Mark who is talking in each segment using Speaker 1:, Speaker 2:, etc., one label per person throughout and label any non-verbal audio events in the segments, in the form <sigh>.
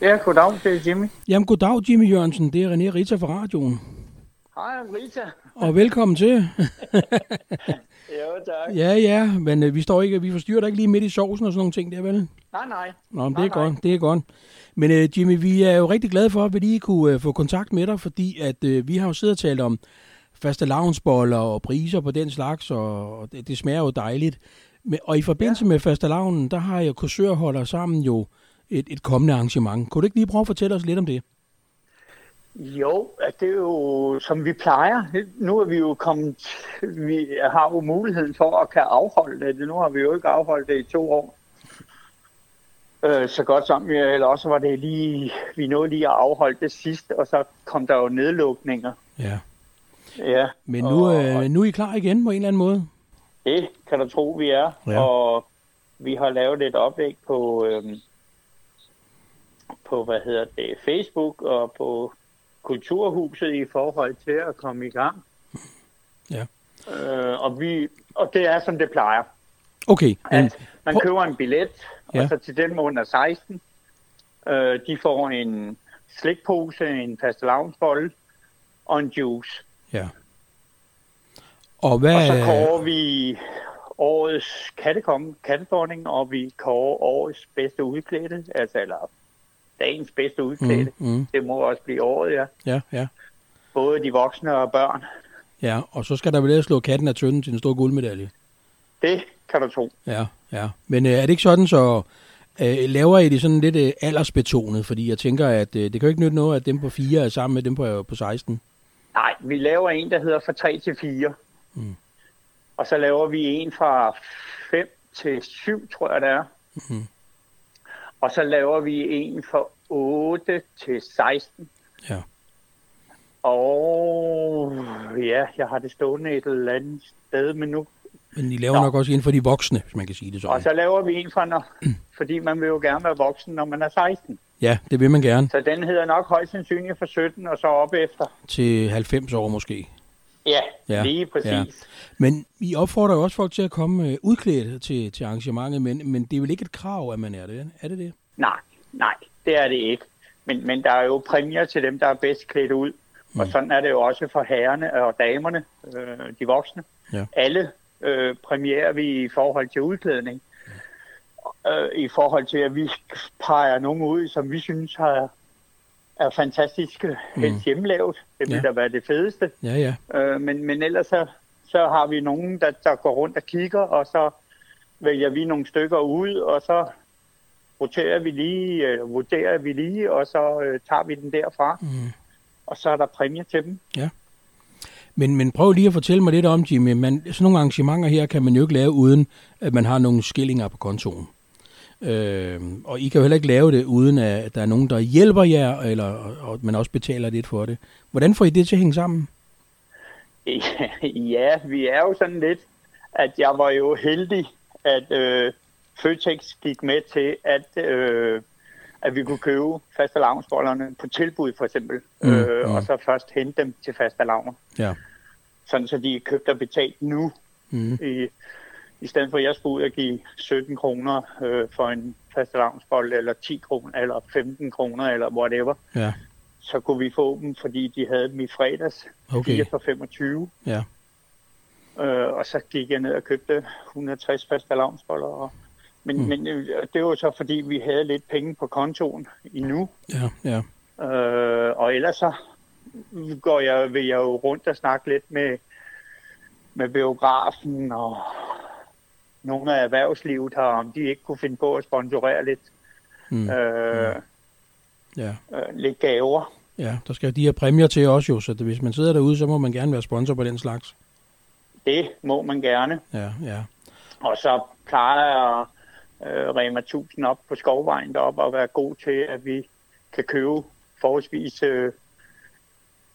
Speaker 1: Ja, goddag, det er Jimmy.
Speaker 2: Jamen, goddag, Jimmy Jørgensen. Det er René Rita fra radioen.
Speaker 1: Hej, Rita.
Speaker 2: Og velkommen til.
Speaker 1: Jo, tak.
Speaker 2: ja, ja, men øh, vi står ikke, vi forstyrrer dig ikke lige midt i sovsen og sådan nogle ting der, vel?
Speaker 1: Nej, nej.
Speaker 2: Nå, men det
Speaker 1: Nej,
Speaker 2: er
Speaker 1: nej.
Speaker 2: godt, det er godt. Men øh, Jimmy, vi er jo rigtig glade for, at vi lige kunne øh, få kontakt med dig, fordi at øh, vi har jo siddet og talt om faste lavnsboller og priser på den slags, og, og det, det smager jo dejligt. Men, og i forbindelse ja. med faste lavnen, der har jeg kursørholder sammen jo et, et kommende arrangement. Kunne du ikke lige prøve at fortælle os lidt om det?
Speaker 1: Jo, at det er jo, som vi plejer. Nu er vi jo kommet, vi har jo muligheden for at kan afholde det. Nu har vi jo ikke afholdt det i to år. Øh, så godt som, ja, eller også var det lige, vi nåede lige at afholde det sidst, og så kom der jo nedlukninger.
Speaker 2: Ja.
Speaker 1: Ja,
Speaker 2: Men nu,
Speaker 1: og-
Speaker 2: øh, nu er I klar igen på en eller anden måde?
Speaker 1: Det kan du tro, vi er.
Speaker 2: Ja.
Speaker 1: Ja. Og vi har lavet et oplæg på, øhm, på hvad hedder det, Facebook og på Kulturhuset i forhold til at komme i gang.
Speaker 2: Ja.
Speaker 1: Øh, og, vi, og det er, som det plejer.
Speaker 2: Okay, men,
Speaker 1: At man
Speaker 2: prøv-
Speaker 1: køber en billet,
Speaker 2: Ja.
Speaker 1: og så til dem under 16, øh, de får en slikpose, en pastelavnsbolle og en juice.
Speaker 2: ja. Og hvad...
Speaker 1: Og så kårer vi årets kattekonge, kattedronning, og vi kårer årets bedste udklædte, altså eller dagens bedste udklædte. Mm.
Speaker 2: mm, mm,
Speaker 1: Det må også blive året, ja.
Speaker 2: ja, ja.
Speaker 1: Både de voksne og børn.
Speaker 2: Ja, og så skal der vel ellers slå katten af tønden til en stor guldmedalje.
Speaker 1: Det kan du tro.
Speaker 2: Ja, ja. Men øh, er det ikke sådan, så øh, laver I det sådan lidt øh, aldersbetonet? Fordi jeg tænker, at øh, det kan jo ikke nytte noget, at dem på 4 er sammen med dem på, på 16.
Speaker 1: Nej, vi laver en, der hedder fra 3 til 4. Mm. Og så laver vi en fra 5 til 7, tror jeg det er. Mm. Og så laver vi en fra 8 til 16.
Speaker 2: Ja.
Speaker 1: Og ja, jeg har det stående et eller andet sted, men nu...
Speaker 2: Men I laver
Speaker 1: Nå.
Speaker 2: nok også inden for de voksne, hvis man kan sige det
Speaker 1: Og
Speaker 2: sådan.
Speaker 1: så laver vi en fra, når, fordi man vil jo gerne være voksen, når man er 16.
Speaker 2: Ja, det vil man gerne.
Speaker 1: Så den hedder nok højst sandsynligt fra 17 og så op efter.
Speaker 2: Til 90 år måske.
Speaker 1: Ja,
Speaker 2: Ja,
Speaker 1: ja lige præcis.
Speaker 2: Men I opfordrer jo også folk til at komme øh, udklædt til, til arrangementet, men, men det er vel ikke et krav, at man er det? Er det det?
Speaker 1: Nej, nej, det er det ikke. Men, men der er jo præmier til dem, der er bedst klædt ud. Mm. Og sådan er det jo også for herrerne og damerne, øh, de voksne.
Speaker 2: Ja.
Speaker 1: Alle øh, præmierer vi i forhold til udklædning. Øh, I forhold til, at vi peger nogen ud, som vi synes har, er fantastiske, helt hjemmelavet. Det vil
Speaker 2: Ja.
Speaker 1: Mm. ja. da være det fedeste.
Speaker 2: Ja, ja.
Speaker 1: Øh, men, men ellers så, så har vi nogen, der, der går rundt og kigger, og så vælger vi nogle stykker ud, og så roterer vi lige, øh, vurderer vi lige, og så øh, tager vi den derfra. Mm. Og så er der præmie til dem. <laughs>
Speaker 2: Men, men prøv lige at fortælle mig lidt om, Jimmy. Man, sådan nogle arrangementer her kan man jo ikke lave, uden at man har nogle skillinger på kontoen. Øh, og I kan jo heller ikke lave det, uden at der er nogen, der hjælper jer, eller, og, og man også betaler lidt for det. Hvordan får I det til at hænge sammen?
Speaker 1: ja, vi er jo sådan lidt, at jeg var jo heldig, at øh, Føtex gik med til, at, øh, at vi kunne købe fastalavnsbollerne på tilbud for eksempel,
Speaker 2: Mm,
Speaker 1: mm, øh,
Speaker 2: mm.
Speaker 1: og så først hente dem til fastalavner.
Speaker 2: Ja,
Speaker 1: sådan så de er købt og betalt nu,
Speaker 2: Mhm.
Speaker 1: mm. i, i stedet for at jeg skulle ud og give 17 kroner øh, for en fastelavnsbold, eller 10 kroner, eller 15 kroner, eller whatever,
Speaker 2: ja,
Speaker 1: så kunne vi få dem, fordi de havde dem i fredags,
Speaker 2: Okay.
Speaker 1: 4 for 25,
Speaker 2: ja.
Speaker 1: øh, og så gik jeg ned og købte 160 fastelavnsboller, og men, mm. men øh, det var så fordi, vi havde lidt penge på kontoen endnu,
Speaker 2: Ja, ja,
Speaker 1: Øh, og ellers så går jeg, vil jeg jo rundt og snakke lidt med, med biografen og nogle af erhvervslivet her, om de ikke kunne finde på at sponsorere lidt,
Speaker 2: Mm,
Speaker 1: mm. Øh,
Speaker 2: ja,
Speaker 1: øh, lidt gaver.
Speaker 2: ja. Der skal jo de her præmier til også jo, så det, hvis man sidder derude, så må man gerne være sponsor på den slags.
Speaker 1: Det må man gerne.
Speaker 2: Ja, ja.
Speaker 1: Og så plejer øh, Rema 1000 op på Skovvejen deroppe at være god til, at vi kan købe forholdsvis øh,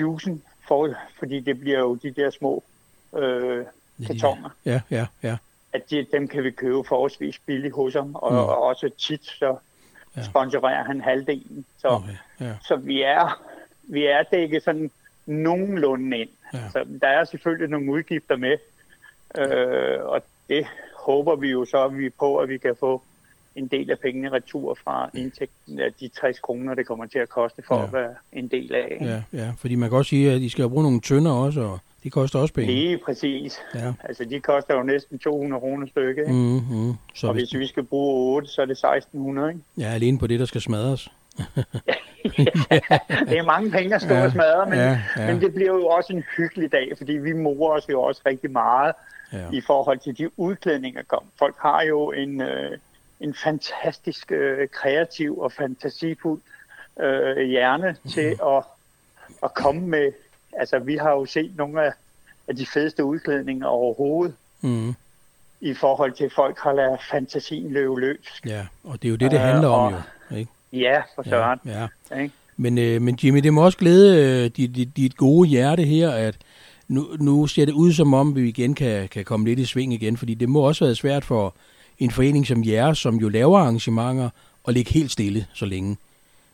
Speaker 1: juicen, for, fordi det bliver jo de der små øh, kartoner.
Speaker 2: Ja, ja, ja.
Speaker 1: at de, dem kan vi købe forholdsvis billigt hos ham, og, mm. og også tit så
Speaker 2: Ja.
Speaker 1: sponsorerer han halvdelen. Så, okay.
Speaker 2: Okay, ja.
Speaker 1: så vi, er, vi er dækket sådan nogenlunde ind.
Speaker 2: Ja.
Speaker 1: Ja. Så der er selvfølgelig nogle udgifter med, øh, og det håber vi jo så, at vi er på, at vi kan få en del af pengene retur fra indtægten af de 60 kroner, det kommer til at koste for ja. at være en del af. ikke?
Speaker 2: Ja, ja, fordi man kan også sige, at I skal jo bruge nogle tønder også, og det koster også penge.
Speaker 1: Lige præcis.
Speaker 2: Ja.
Speaker 1: Altså, de koster jo næsten 200 kroner stykke, ikke?
Speaker 2: Mm-hmm. Så
Speaker 1: Mm, og
Speaker 2: hvis,
Speaker 1: hvis vi skal bruge 8, så er det 1600, ikke?
Speaker 2: ja, alene på det, der skal smadres.
Speaker 1: Det er mange penge at stå
Speaker 2: Ja.
Speaker 1: og smadre, men,
Speaker 2: Ja, ja.
Speaker 1: men det bliver jo også en hyggelig dag, fordi vi morer os jo også rigtig meget
Speaker 2: Ja.
Speaker 1: i forhold til de udklædninger, der kom. Folk har jo en, øh, en fantastisk øh, kreativ og fantasifuld øh, hjerne til
Speaker 2: Mm-hmm.
Speaker 1: at, at komme med. Altså, vi har jo set nogle af, af de fedeste udklædninger overhovedet
Speaker 2: Mm,
Speaker 1: i forhold til, at folk har ladet fantasien løbe løs.
Speaker 2: ja, og det er jo det, det
Speaker 1: Øh,
Speaker 2: handler om
Speaker 1: og-
Speaker 2: jo. Ikke?
Speaker 1: Ja, for
Speaker 2: Ja,
Speaker 1: søren.
Speaker 2: ja.
Speaker 1: Ja. Ikke?
Speaker 2: Men, øh, men Jimmy, det må også glæde øh, dit, dit, dit gode hjerte her, at nu, nu ser det ud som om, vi igen kan, kan komme lidt i sving igen, fordi det må også være svært for en forening som jeres, som jo laver arrangementer, at ligge helt stille så længe.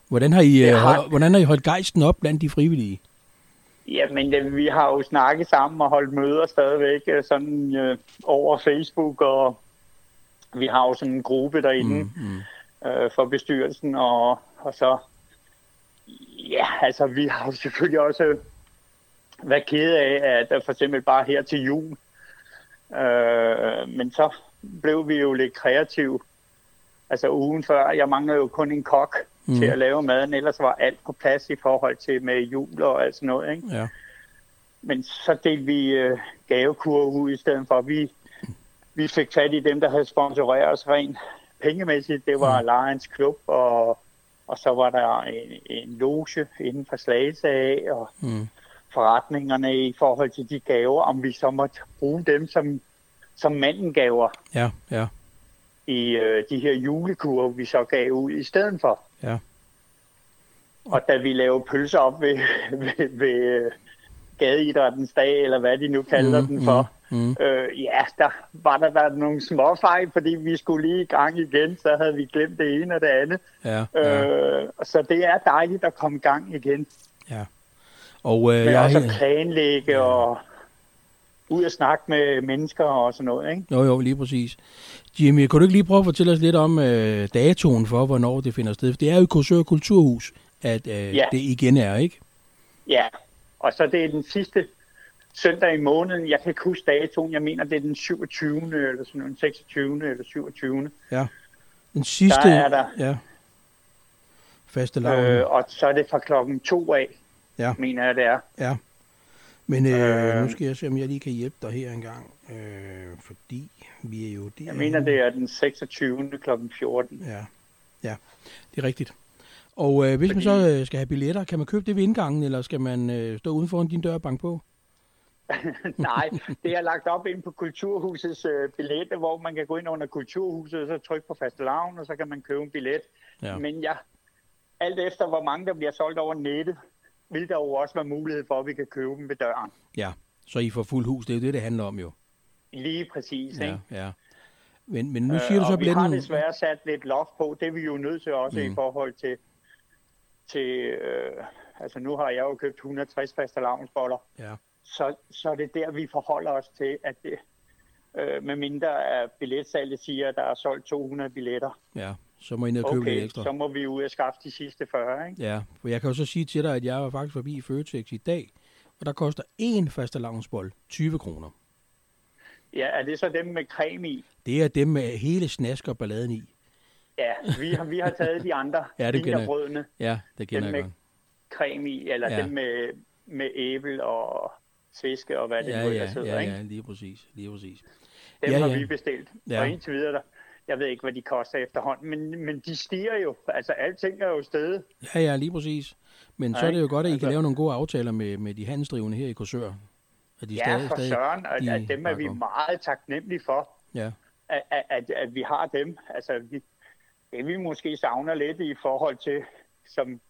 Speaker 2: Hvordan har I,
Speaker 1: Det
Speaker 2: øh,
Speaker 1: har-
Speaker 2: hold- hvordan har I holdt gejsten op blandt de frivillige?
Speaker 1: Jamen, øh, vi har jo snakket sammen og holdt møder stadigvæk øh, sådan øh, over Facebook, og vi har jo sådan en gruppe derinde mm, mm. Øh, for bestyrelsen, og, og så, ja, altså, vi har jo selvfølgelig også været ked af, at øh, for eksempel bare her til jul, øh, men så blev vi jo lidt kreative, altså ugen før, jeg mangler jo kun en kok mm. til at lave maden, ellers var alt på plads i forhold til med jul og alt sådan noget, ikke?
Speaker 2: Ja,
Speaker 1: Men så delte vi øh, gavekurve ud i stedet for. Vi, vi fik fat i dem, der havde sponsoreret os rent pengemæssigt. Det var Lions Klub, og, og så var der en, en loge inden for Slagelse af, og
Speaker 2: Mm.
Speaker 1: mm. forretningerne i forhold til de gaver, om vi så måtte bruge dem som, som manden gaver
Speaker 2: ja, ja,
Speaker 1: i øh, de her julekurve, vi så gav ud i stedet for.
Speaker 2: Ja.
Speaker 1: Og da vi lavede pølser op ved, <laughs> ved, ved øh, gadeidrættens dag, eller hvad de nu kalder
Speaker 2: Mm,
Speaker 1: mm, den for,
Speaker 2: mm, mm.
Speaker 1: Øh, ja, der var der, der nogle små fejl, fordi vi skulle lige i gang igen, så havde vi glemt det ene og det andet.
Speaker 2: ja, ja,
Speaker 1: Øh, så det er dejligt at komme i gang igen.
Speaker 2: ja. Og øh,
Speaker 1: Men
Speaker 2: jeg er
Speaker 1: også at
Speaker 2: helt-
Speaker 1: planlægge og ud og snakke med mennesker og sådan noget, ikke?
Speaker 2: Jo, jo, lige præcis. Jimmy, kunne du ikke lige prøve at fortælle os lidt om øh, datoen for, hvornår det finder sted? For det er jo i Korsør Kulturhus, at øh, ja.
Speaker 1: Ja.
Speaker 2: det igen er, ikke?
Speaker 1: Ja, og så det er den sidste søndag i måneden. Jeg kan ikke huske datoen. Jeg mener, det er den 27. eller sådan noget, den 26. eller 27.
Speaker 2: Ja. Den sidste...
Speaker 1: Der er der.
Speaker 2: Ja. Faste laven. Øh,
Speaker 1: Øh, og så er det fra klokken to af,
Speaker 2: Ja.
Speaker 1: mener jeg, det er.
Speaker 2: ja. Men øh, øh,
Speaker 1: øh,
Speaker 2: nu skal jeg se, om jeg lige kan hjælpe dig her engang. Øh, fordi vi er jo der.
Speaker 1: Jeg mener, det er den 26. klokken 14.
Speaker 2: Ja, ja. det er rigtigt. Og øh, hvis man så øh, skal have billetter, kan man købe det ved indgangen, eller skal man øh, stå uden foran din dør og banke på?
Speaker 1: <laughs> Nej, det er lagt op ind på Kulturhusets øh, billetter, hvor man kan gå ind under Kulturhuset, og så trykke på fastelavn, og så kan man købe en billet.
Speaker 2: Ja.
Speaker 1: Ja. Men jeg, alt efter, hvor mange der bliver solgt over nettet, vil der jo også være mulighed for, at vi kan købe dem ved døren.
Speaker 2: Ja, så I får fuld hus. Det er jo det, det handler om jo.
Speaker 1: Lige præcis, ikke?
Speaker 2: Ja, ja. Men, men nu siger
Speaker 1: Øh,
Speaker 2: du så
Speaker 1: og vi har
Speaker 2: billetten...
Speaker 1: desværre sat lidt loft på, det er vi jo nødt til også mm. i forhold til, til øh, altså nu har jeg jo købt 160 faste lavnsboller,
Speaker 2: Ja,
Speaker 1: så, så er det der, vi forholder os til, at det, øh, med mindre at billetsalget siger, at der er solgt 200 billetter,
Speaker 2: ja. Så må I ned og købe lidt
Speaker 1: okay,
Speaker 2: ekstra.
Speaker 1: så må vi ud og skaffe de sidste 40, ikke?
Speaker 2: Ja, for jeg kan jo så sige til dig, at jeg var faktisk forbi Føtex i dag, og der koster én faste 20 kroner.
Speaker 1: Ja, er det så dem med creme i?
Speaker 2: Det er dem med hele snask og balladen i.
Speaker 1: Ja, vi har, vi har taget de andre,
Speaker 2: <laughs> Ja, det kender jeg.
Speaker 1: brødene,
Speaker 2: Ja, det kender
Speaker 1: Dem med
Speaker 2: jeg godt.
Speaker 1: creme i, eller
Speaker 2: Ja.
Speaker 1: ja. dem med, med æble og fiske og hvad det
Speaker 2: Ja,
Speaker 1: nu ellers
Speaker 2: ja,
Speaker 1: hedder,
Speaker 2: ja,
Speaker 1: ikke?
Speaker 2: ja, lige præcis, lige præcis.
Speaker 1: Dem ja,
Speaker 2: Ja,
Speaker 1: har
Speaker 2: ja.
Speaker 1: vi bestilt.
Speaker 2: Ja.
Speaker 1: Ja. Og indtil videre, der, jeg ved ikke, hvad de koster efterhånden, men, men de stiger jo. Altså, alting er jo stedet.
Speaker 2: Ja, ja, lige præcis. Men så
Speaker 1: Ja,
Speaker 2: er det jo
Speaker 1: ikke?
Speaker 2: godt, at I kan
Speaker 1: Altså-
Speaker 2: lave nogle gode aftaler med, med de handelsdrivende her i Korsør. At de
Speaker 1: Ja, for søren, og
Speaker 2: de
Speaker 1: at dem er vi
Speaker 2: bakker op.
Speaker 1: meget taknemmelige for,
Speaker 2: Ja,
Speaker 1: at, at, at, at vi har dem. Altså, vi, det vi måske savner lidt i forhold til, som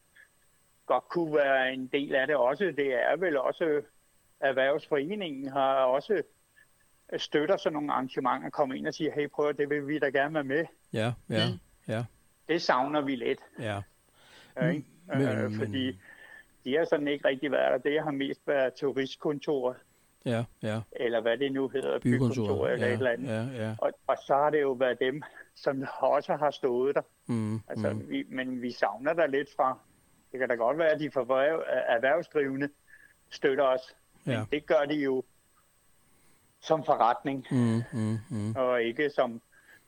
Speaker 1: godt kunne være en del af det også, det er vel også, Erhvervsforeningen har også støtter sådan nogle arrangementer, kommer ind og siger, hey, prøv at det vil vi da gerne være med.
Speaker 2: ja, ja,
Speaker 1: Mm.
Speaker 2: ja,
Speaker 1: Det savner vi lidt.
Speaker 2: ja.
Speaker 1: Ikke?
Speaker 2: Mm, Men-
Speaker 1: Men, øh,
Speaker 2: men-
Speaker 1: fordi de har sådan ikke rigtig været der. Det har mest været turistkontoret.
Speaker 2: ja, ja.
Speaker 1: eller hvad det nu hedder,
Speaker 2: Bykontoret,
Speaker 1: bykontoret eller
Speaker 2: ja,
Speaker 1: et eller andet.
Speaker 2: Ja, ja.
Speaker 1: Og, og så har det jo været dem, som også har stået der.
Speaker 2: Mm,
Speaker 1: Altså,
Speaker 2: mm.
Speaker 1: mm. vi, men vi savner der lidt fra. Det kan da godt være, at de forværv- erhvervsdrivende støtter os.
Speaker 2: Ja.
Speaker 1: Men det gør de jo som forretning,
Speaker 2: Mm, mm, mm.
Speaker 1: og ikke som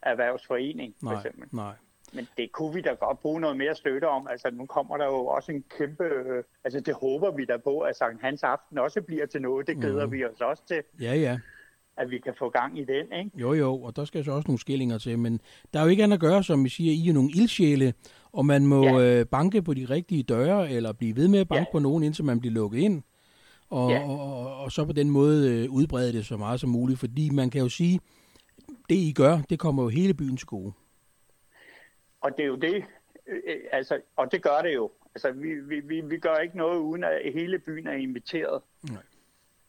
Speaker 1: erhvervsforening, for
Speaker 2: Nej,
Speaker 1: eksempel.
Speaker 2: nej.
Speaker 1: Men det kunne vi da godt bruge noget mere støtte om. Altså, nu kommer der jo også en kæmpe... Øh, altså, det håber vi da på, at Sankt Hans Aften også bliver til noget. Det glæder
Speaker 2: Mhm.
Speaker 1: mm. vi os også til,
Speaker 2: Ja, ja.
Speaker 1: at vi kan få gang i den, ikke?
Speaker 2: Jo, jo, og der skal så også nogle skillinger til, men der er jo ikke andet at gøre, som I siger, I er jo nogle ildsjæle, og man må ja.
Speaker 1: Ja.
Speaker 2: øh, banke på de rigtige døre, eller blive ved med at banke ja.
Speaker 1: Ja.
Speaker 2: på nogen, indtil man bliver lukket ind, og, ja.
Speaker 1: Ja.
Speaker 2: og, og, og så på den måde øh, udbrede det så meget som muligt, fordi man kan jo sige, det I gør, det kommer jo hele byen til gode.
Speaker 1: Og det er jo det, øh, øh, altså, og det gør det jo. Altså, vi, vi, vi, vi gør ikke noget, uden at hele byen er inviteret
Speaker 2: Nej.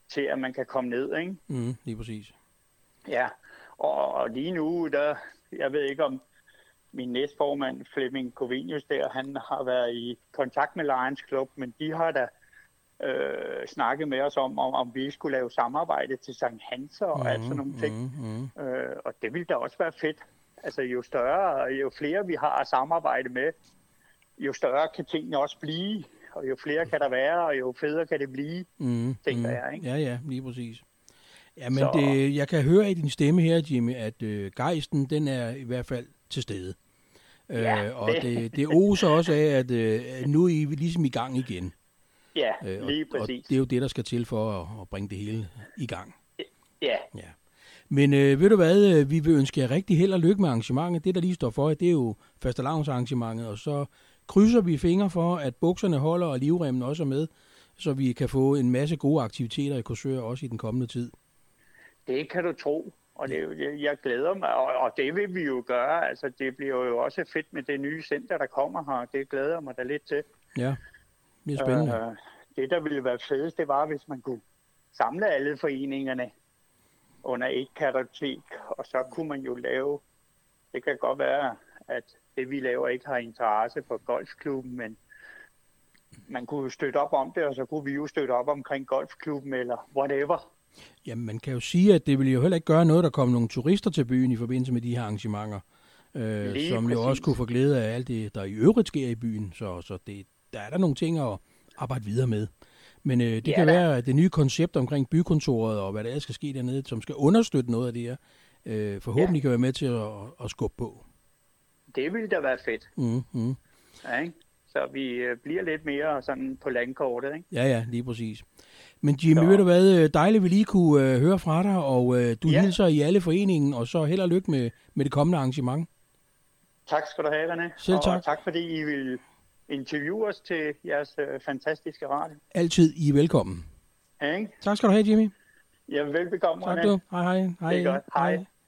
Speaker 1: til, at man kan komme ned, ikke?
Speaker 2: Mm, lige præcis.
Speaker 1: Ja, og, og lige nu, der, jeg ved ikke om min næstformand Flemming Covinius der, han har været i kontakt med Lions Club, men de har da øh, snakket med os om, om, om vi skulle lave samarbejde til Sankt Hans
Speaker 2: Mhm,
Speaker 1: og mm, alt sådan nogle ting.
Speaker 2: Mm, mm.
Speaker 1: Øh, og det ville da også være fedt. Altså jo større, jo flere vi har at samarbejde med, jo større kan tingene også blive, og jo flere kan der være, og jo federe kan det blive.
Speaker 2: Mm,
Speaker 1: tænker
Speaker 2: mm.
Speaker 1: jeg, ikke?
Speaker 2: Ja, ja, lige præcis. Ja, men
Speaker 1: Så-
Speaker 2: det, jeg kan høre i din stemme her, Jimmy, at øh, gejsten, den er i hvert fald til stede.
Speaker 1: Ja,
Speaker 2: øh, og
Speaker 1: det-
Speaker 2: det, det oser også af, at øh, at nu er I ligesom i gang igen.
Speaker 1: Ja,
Speaker 2: Øh,
Speaker 1: lige
Speaker 2: og, og
Speaker 1: præcis.
Speaker 2: det er jo det, der skal til for at, at bringe det hele i gang.
Speaker 1: Ja,
Speaker 2: Ja. Men øh, ved du hvad, øh, vi vil ønske jer rigtig held og lykke med arrangementet. Det, der lige står for jer, det er jo fastelavnsarrangementet, og så krydser vi fingre for, at bukserne holder og livremmen også er med, så vi kan få en masse gode aktiviteter i Korsør også i den kommende tid.
Speaker 1: det kan du tro. Og det, er jo- det- jeg glæder mig, og, og det vil vi jo gøre. Altså, det bliver jo også fedt med det nye center, der kommer her. og Det glæder jeg mig da lidt til.
Speaker 2: Ja, det er spændende.
Speaker 1: Øh, det, der ville være fedest, det var, hvis man kunne samle alle foreningerne under et kartotek, og så kunne man jo lave, det kan godt være, at det vi laver ikke har interesse for golfklubben, men man kunne jo støtte op om det, og så kunne vi jo støtte op omkring golfklubben eller whatever.
Speaker 2: Jamen, man kan jo sige, at det ville jo heller ikke gøre noget, at der kom nogle turister til byen i forbindelse med de her arrangementer, øh,
Speaker 1: Lige
Speaker 2: som jo
Speaker 1: præcis.
Speaker 2: også kunne få glæde af alt det, der i øvrigt sker i byen. Så, så det, der er der nogle ting at arbejde videre med. Men øh, det
Speaker 1: Ja,
Speaker 2: kan
Speaker 1: da.
Speaker 2: være, at det nye koncept omkring bykontoret og hvad der ellers skal ske dernede, som skal understøtte noget af det her, øh, forhåbentlig ja. kan være med til at, at skubbe på.
Speaker 1: Det ville da være fedt,
Speaker 2: Mm, mm.
Speaker 1: ja, ikke? Så vi øh, bliver lidt mere sådan på landkortet, ikke?
Speaker 2: Ja, ja, lige præcis. Men Jimmy,
Speaker 1: Så-
Speaker 2: ved du hvad, øh, dejligt vi lige kunne øh, høre fra dig, og øh, du ja.
Speaker 1: Ja.
Speaker 2: hilser i alle foreningen, og så held og lykke med, med det kommende arrangement.
Speaker 1: Tak skal du have, René.
Speaker 2: Selv tak.
Speaker 1: Og tak fordi I vil interviewe os til jeres øh, fantastiske radio.
Speaker 2: Altid, I er velkommen.
Speaker 1: Ja, ikke?
Speaker 2: Tak skal du have, Jimmy.
Speaker 1: Jamen, velbekomme,
Speaker 2: Tak
Speaker 1: René.
Speaker 2: du. Hej, hej. hej.
Speaker 1: godt. Hej.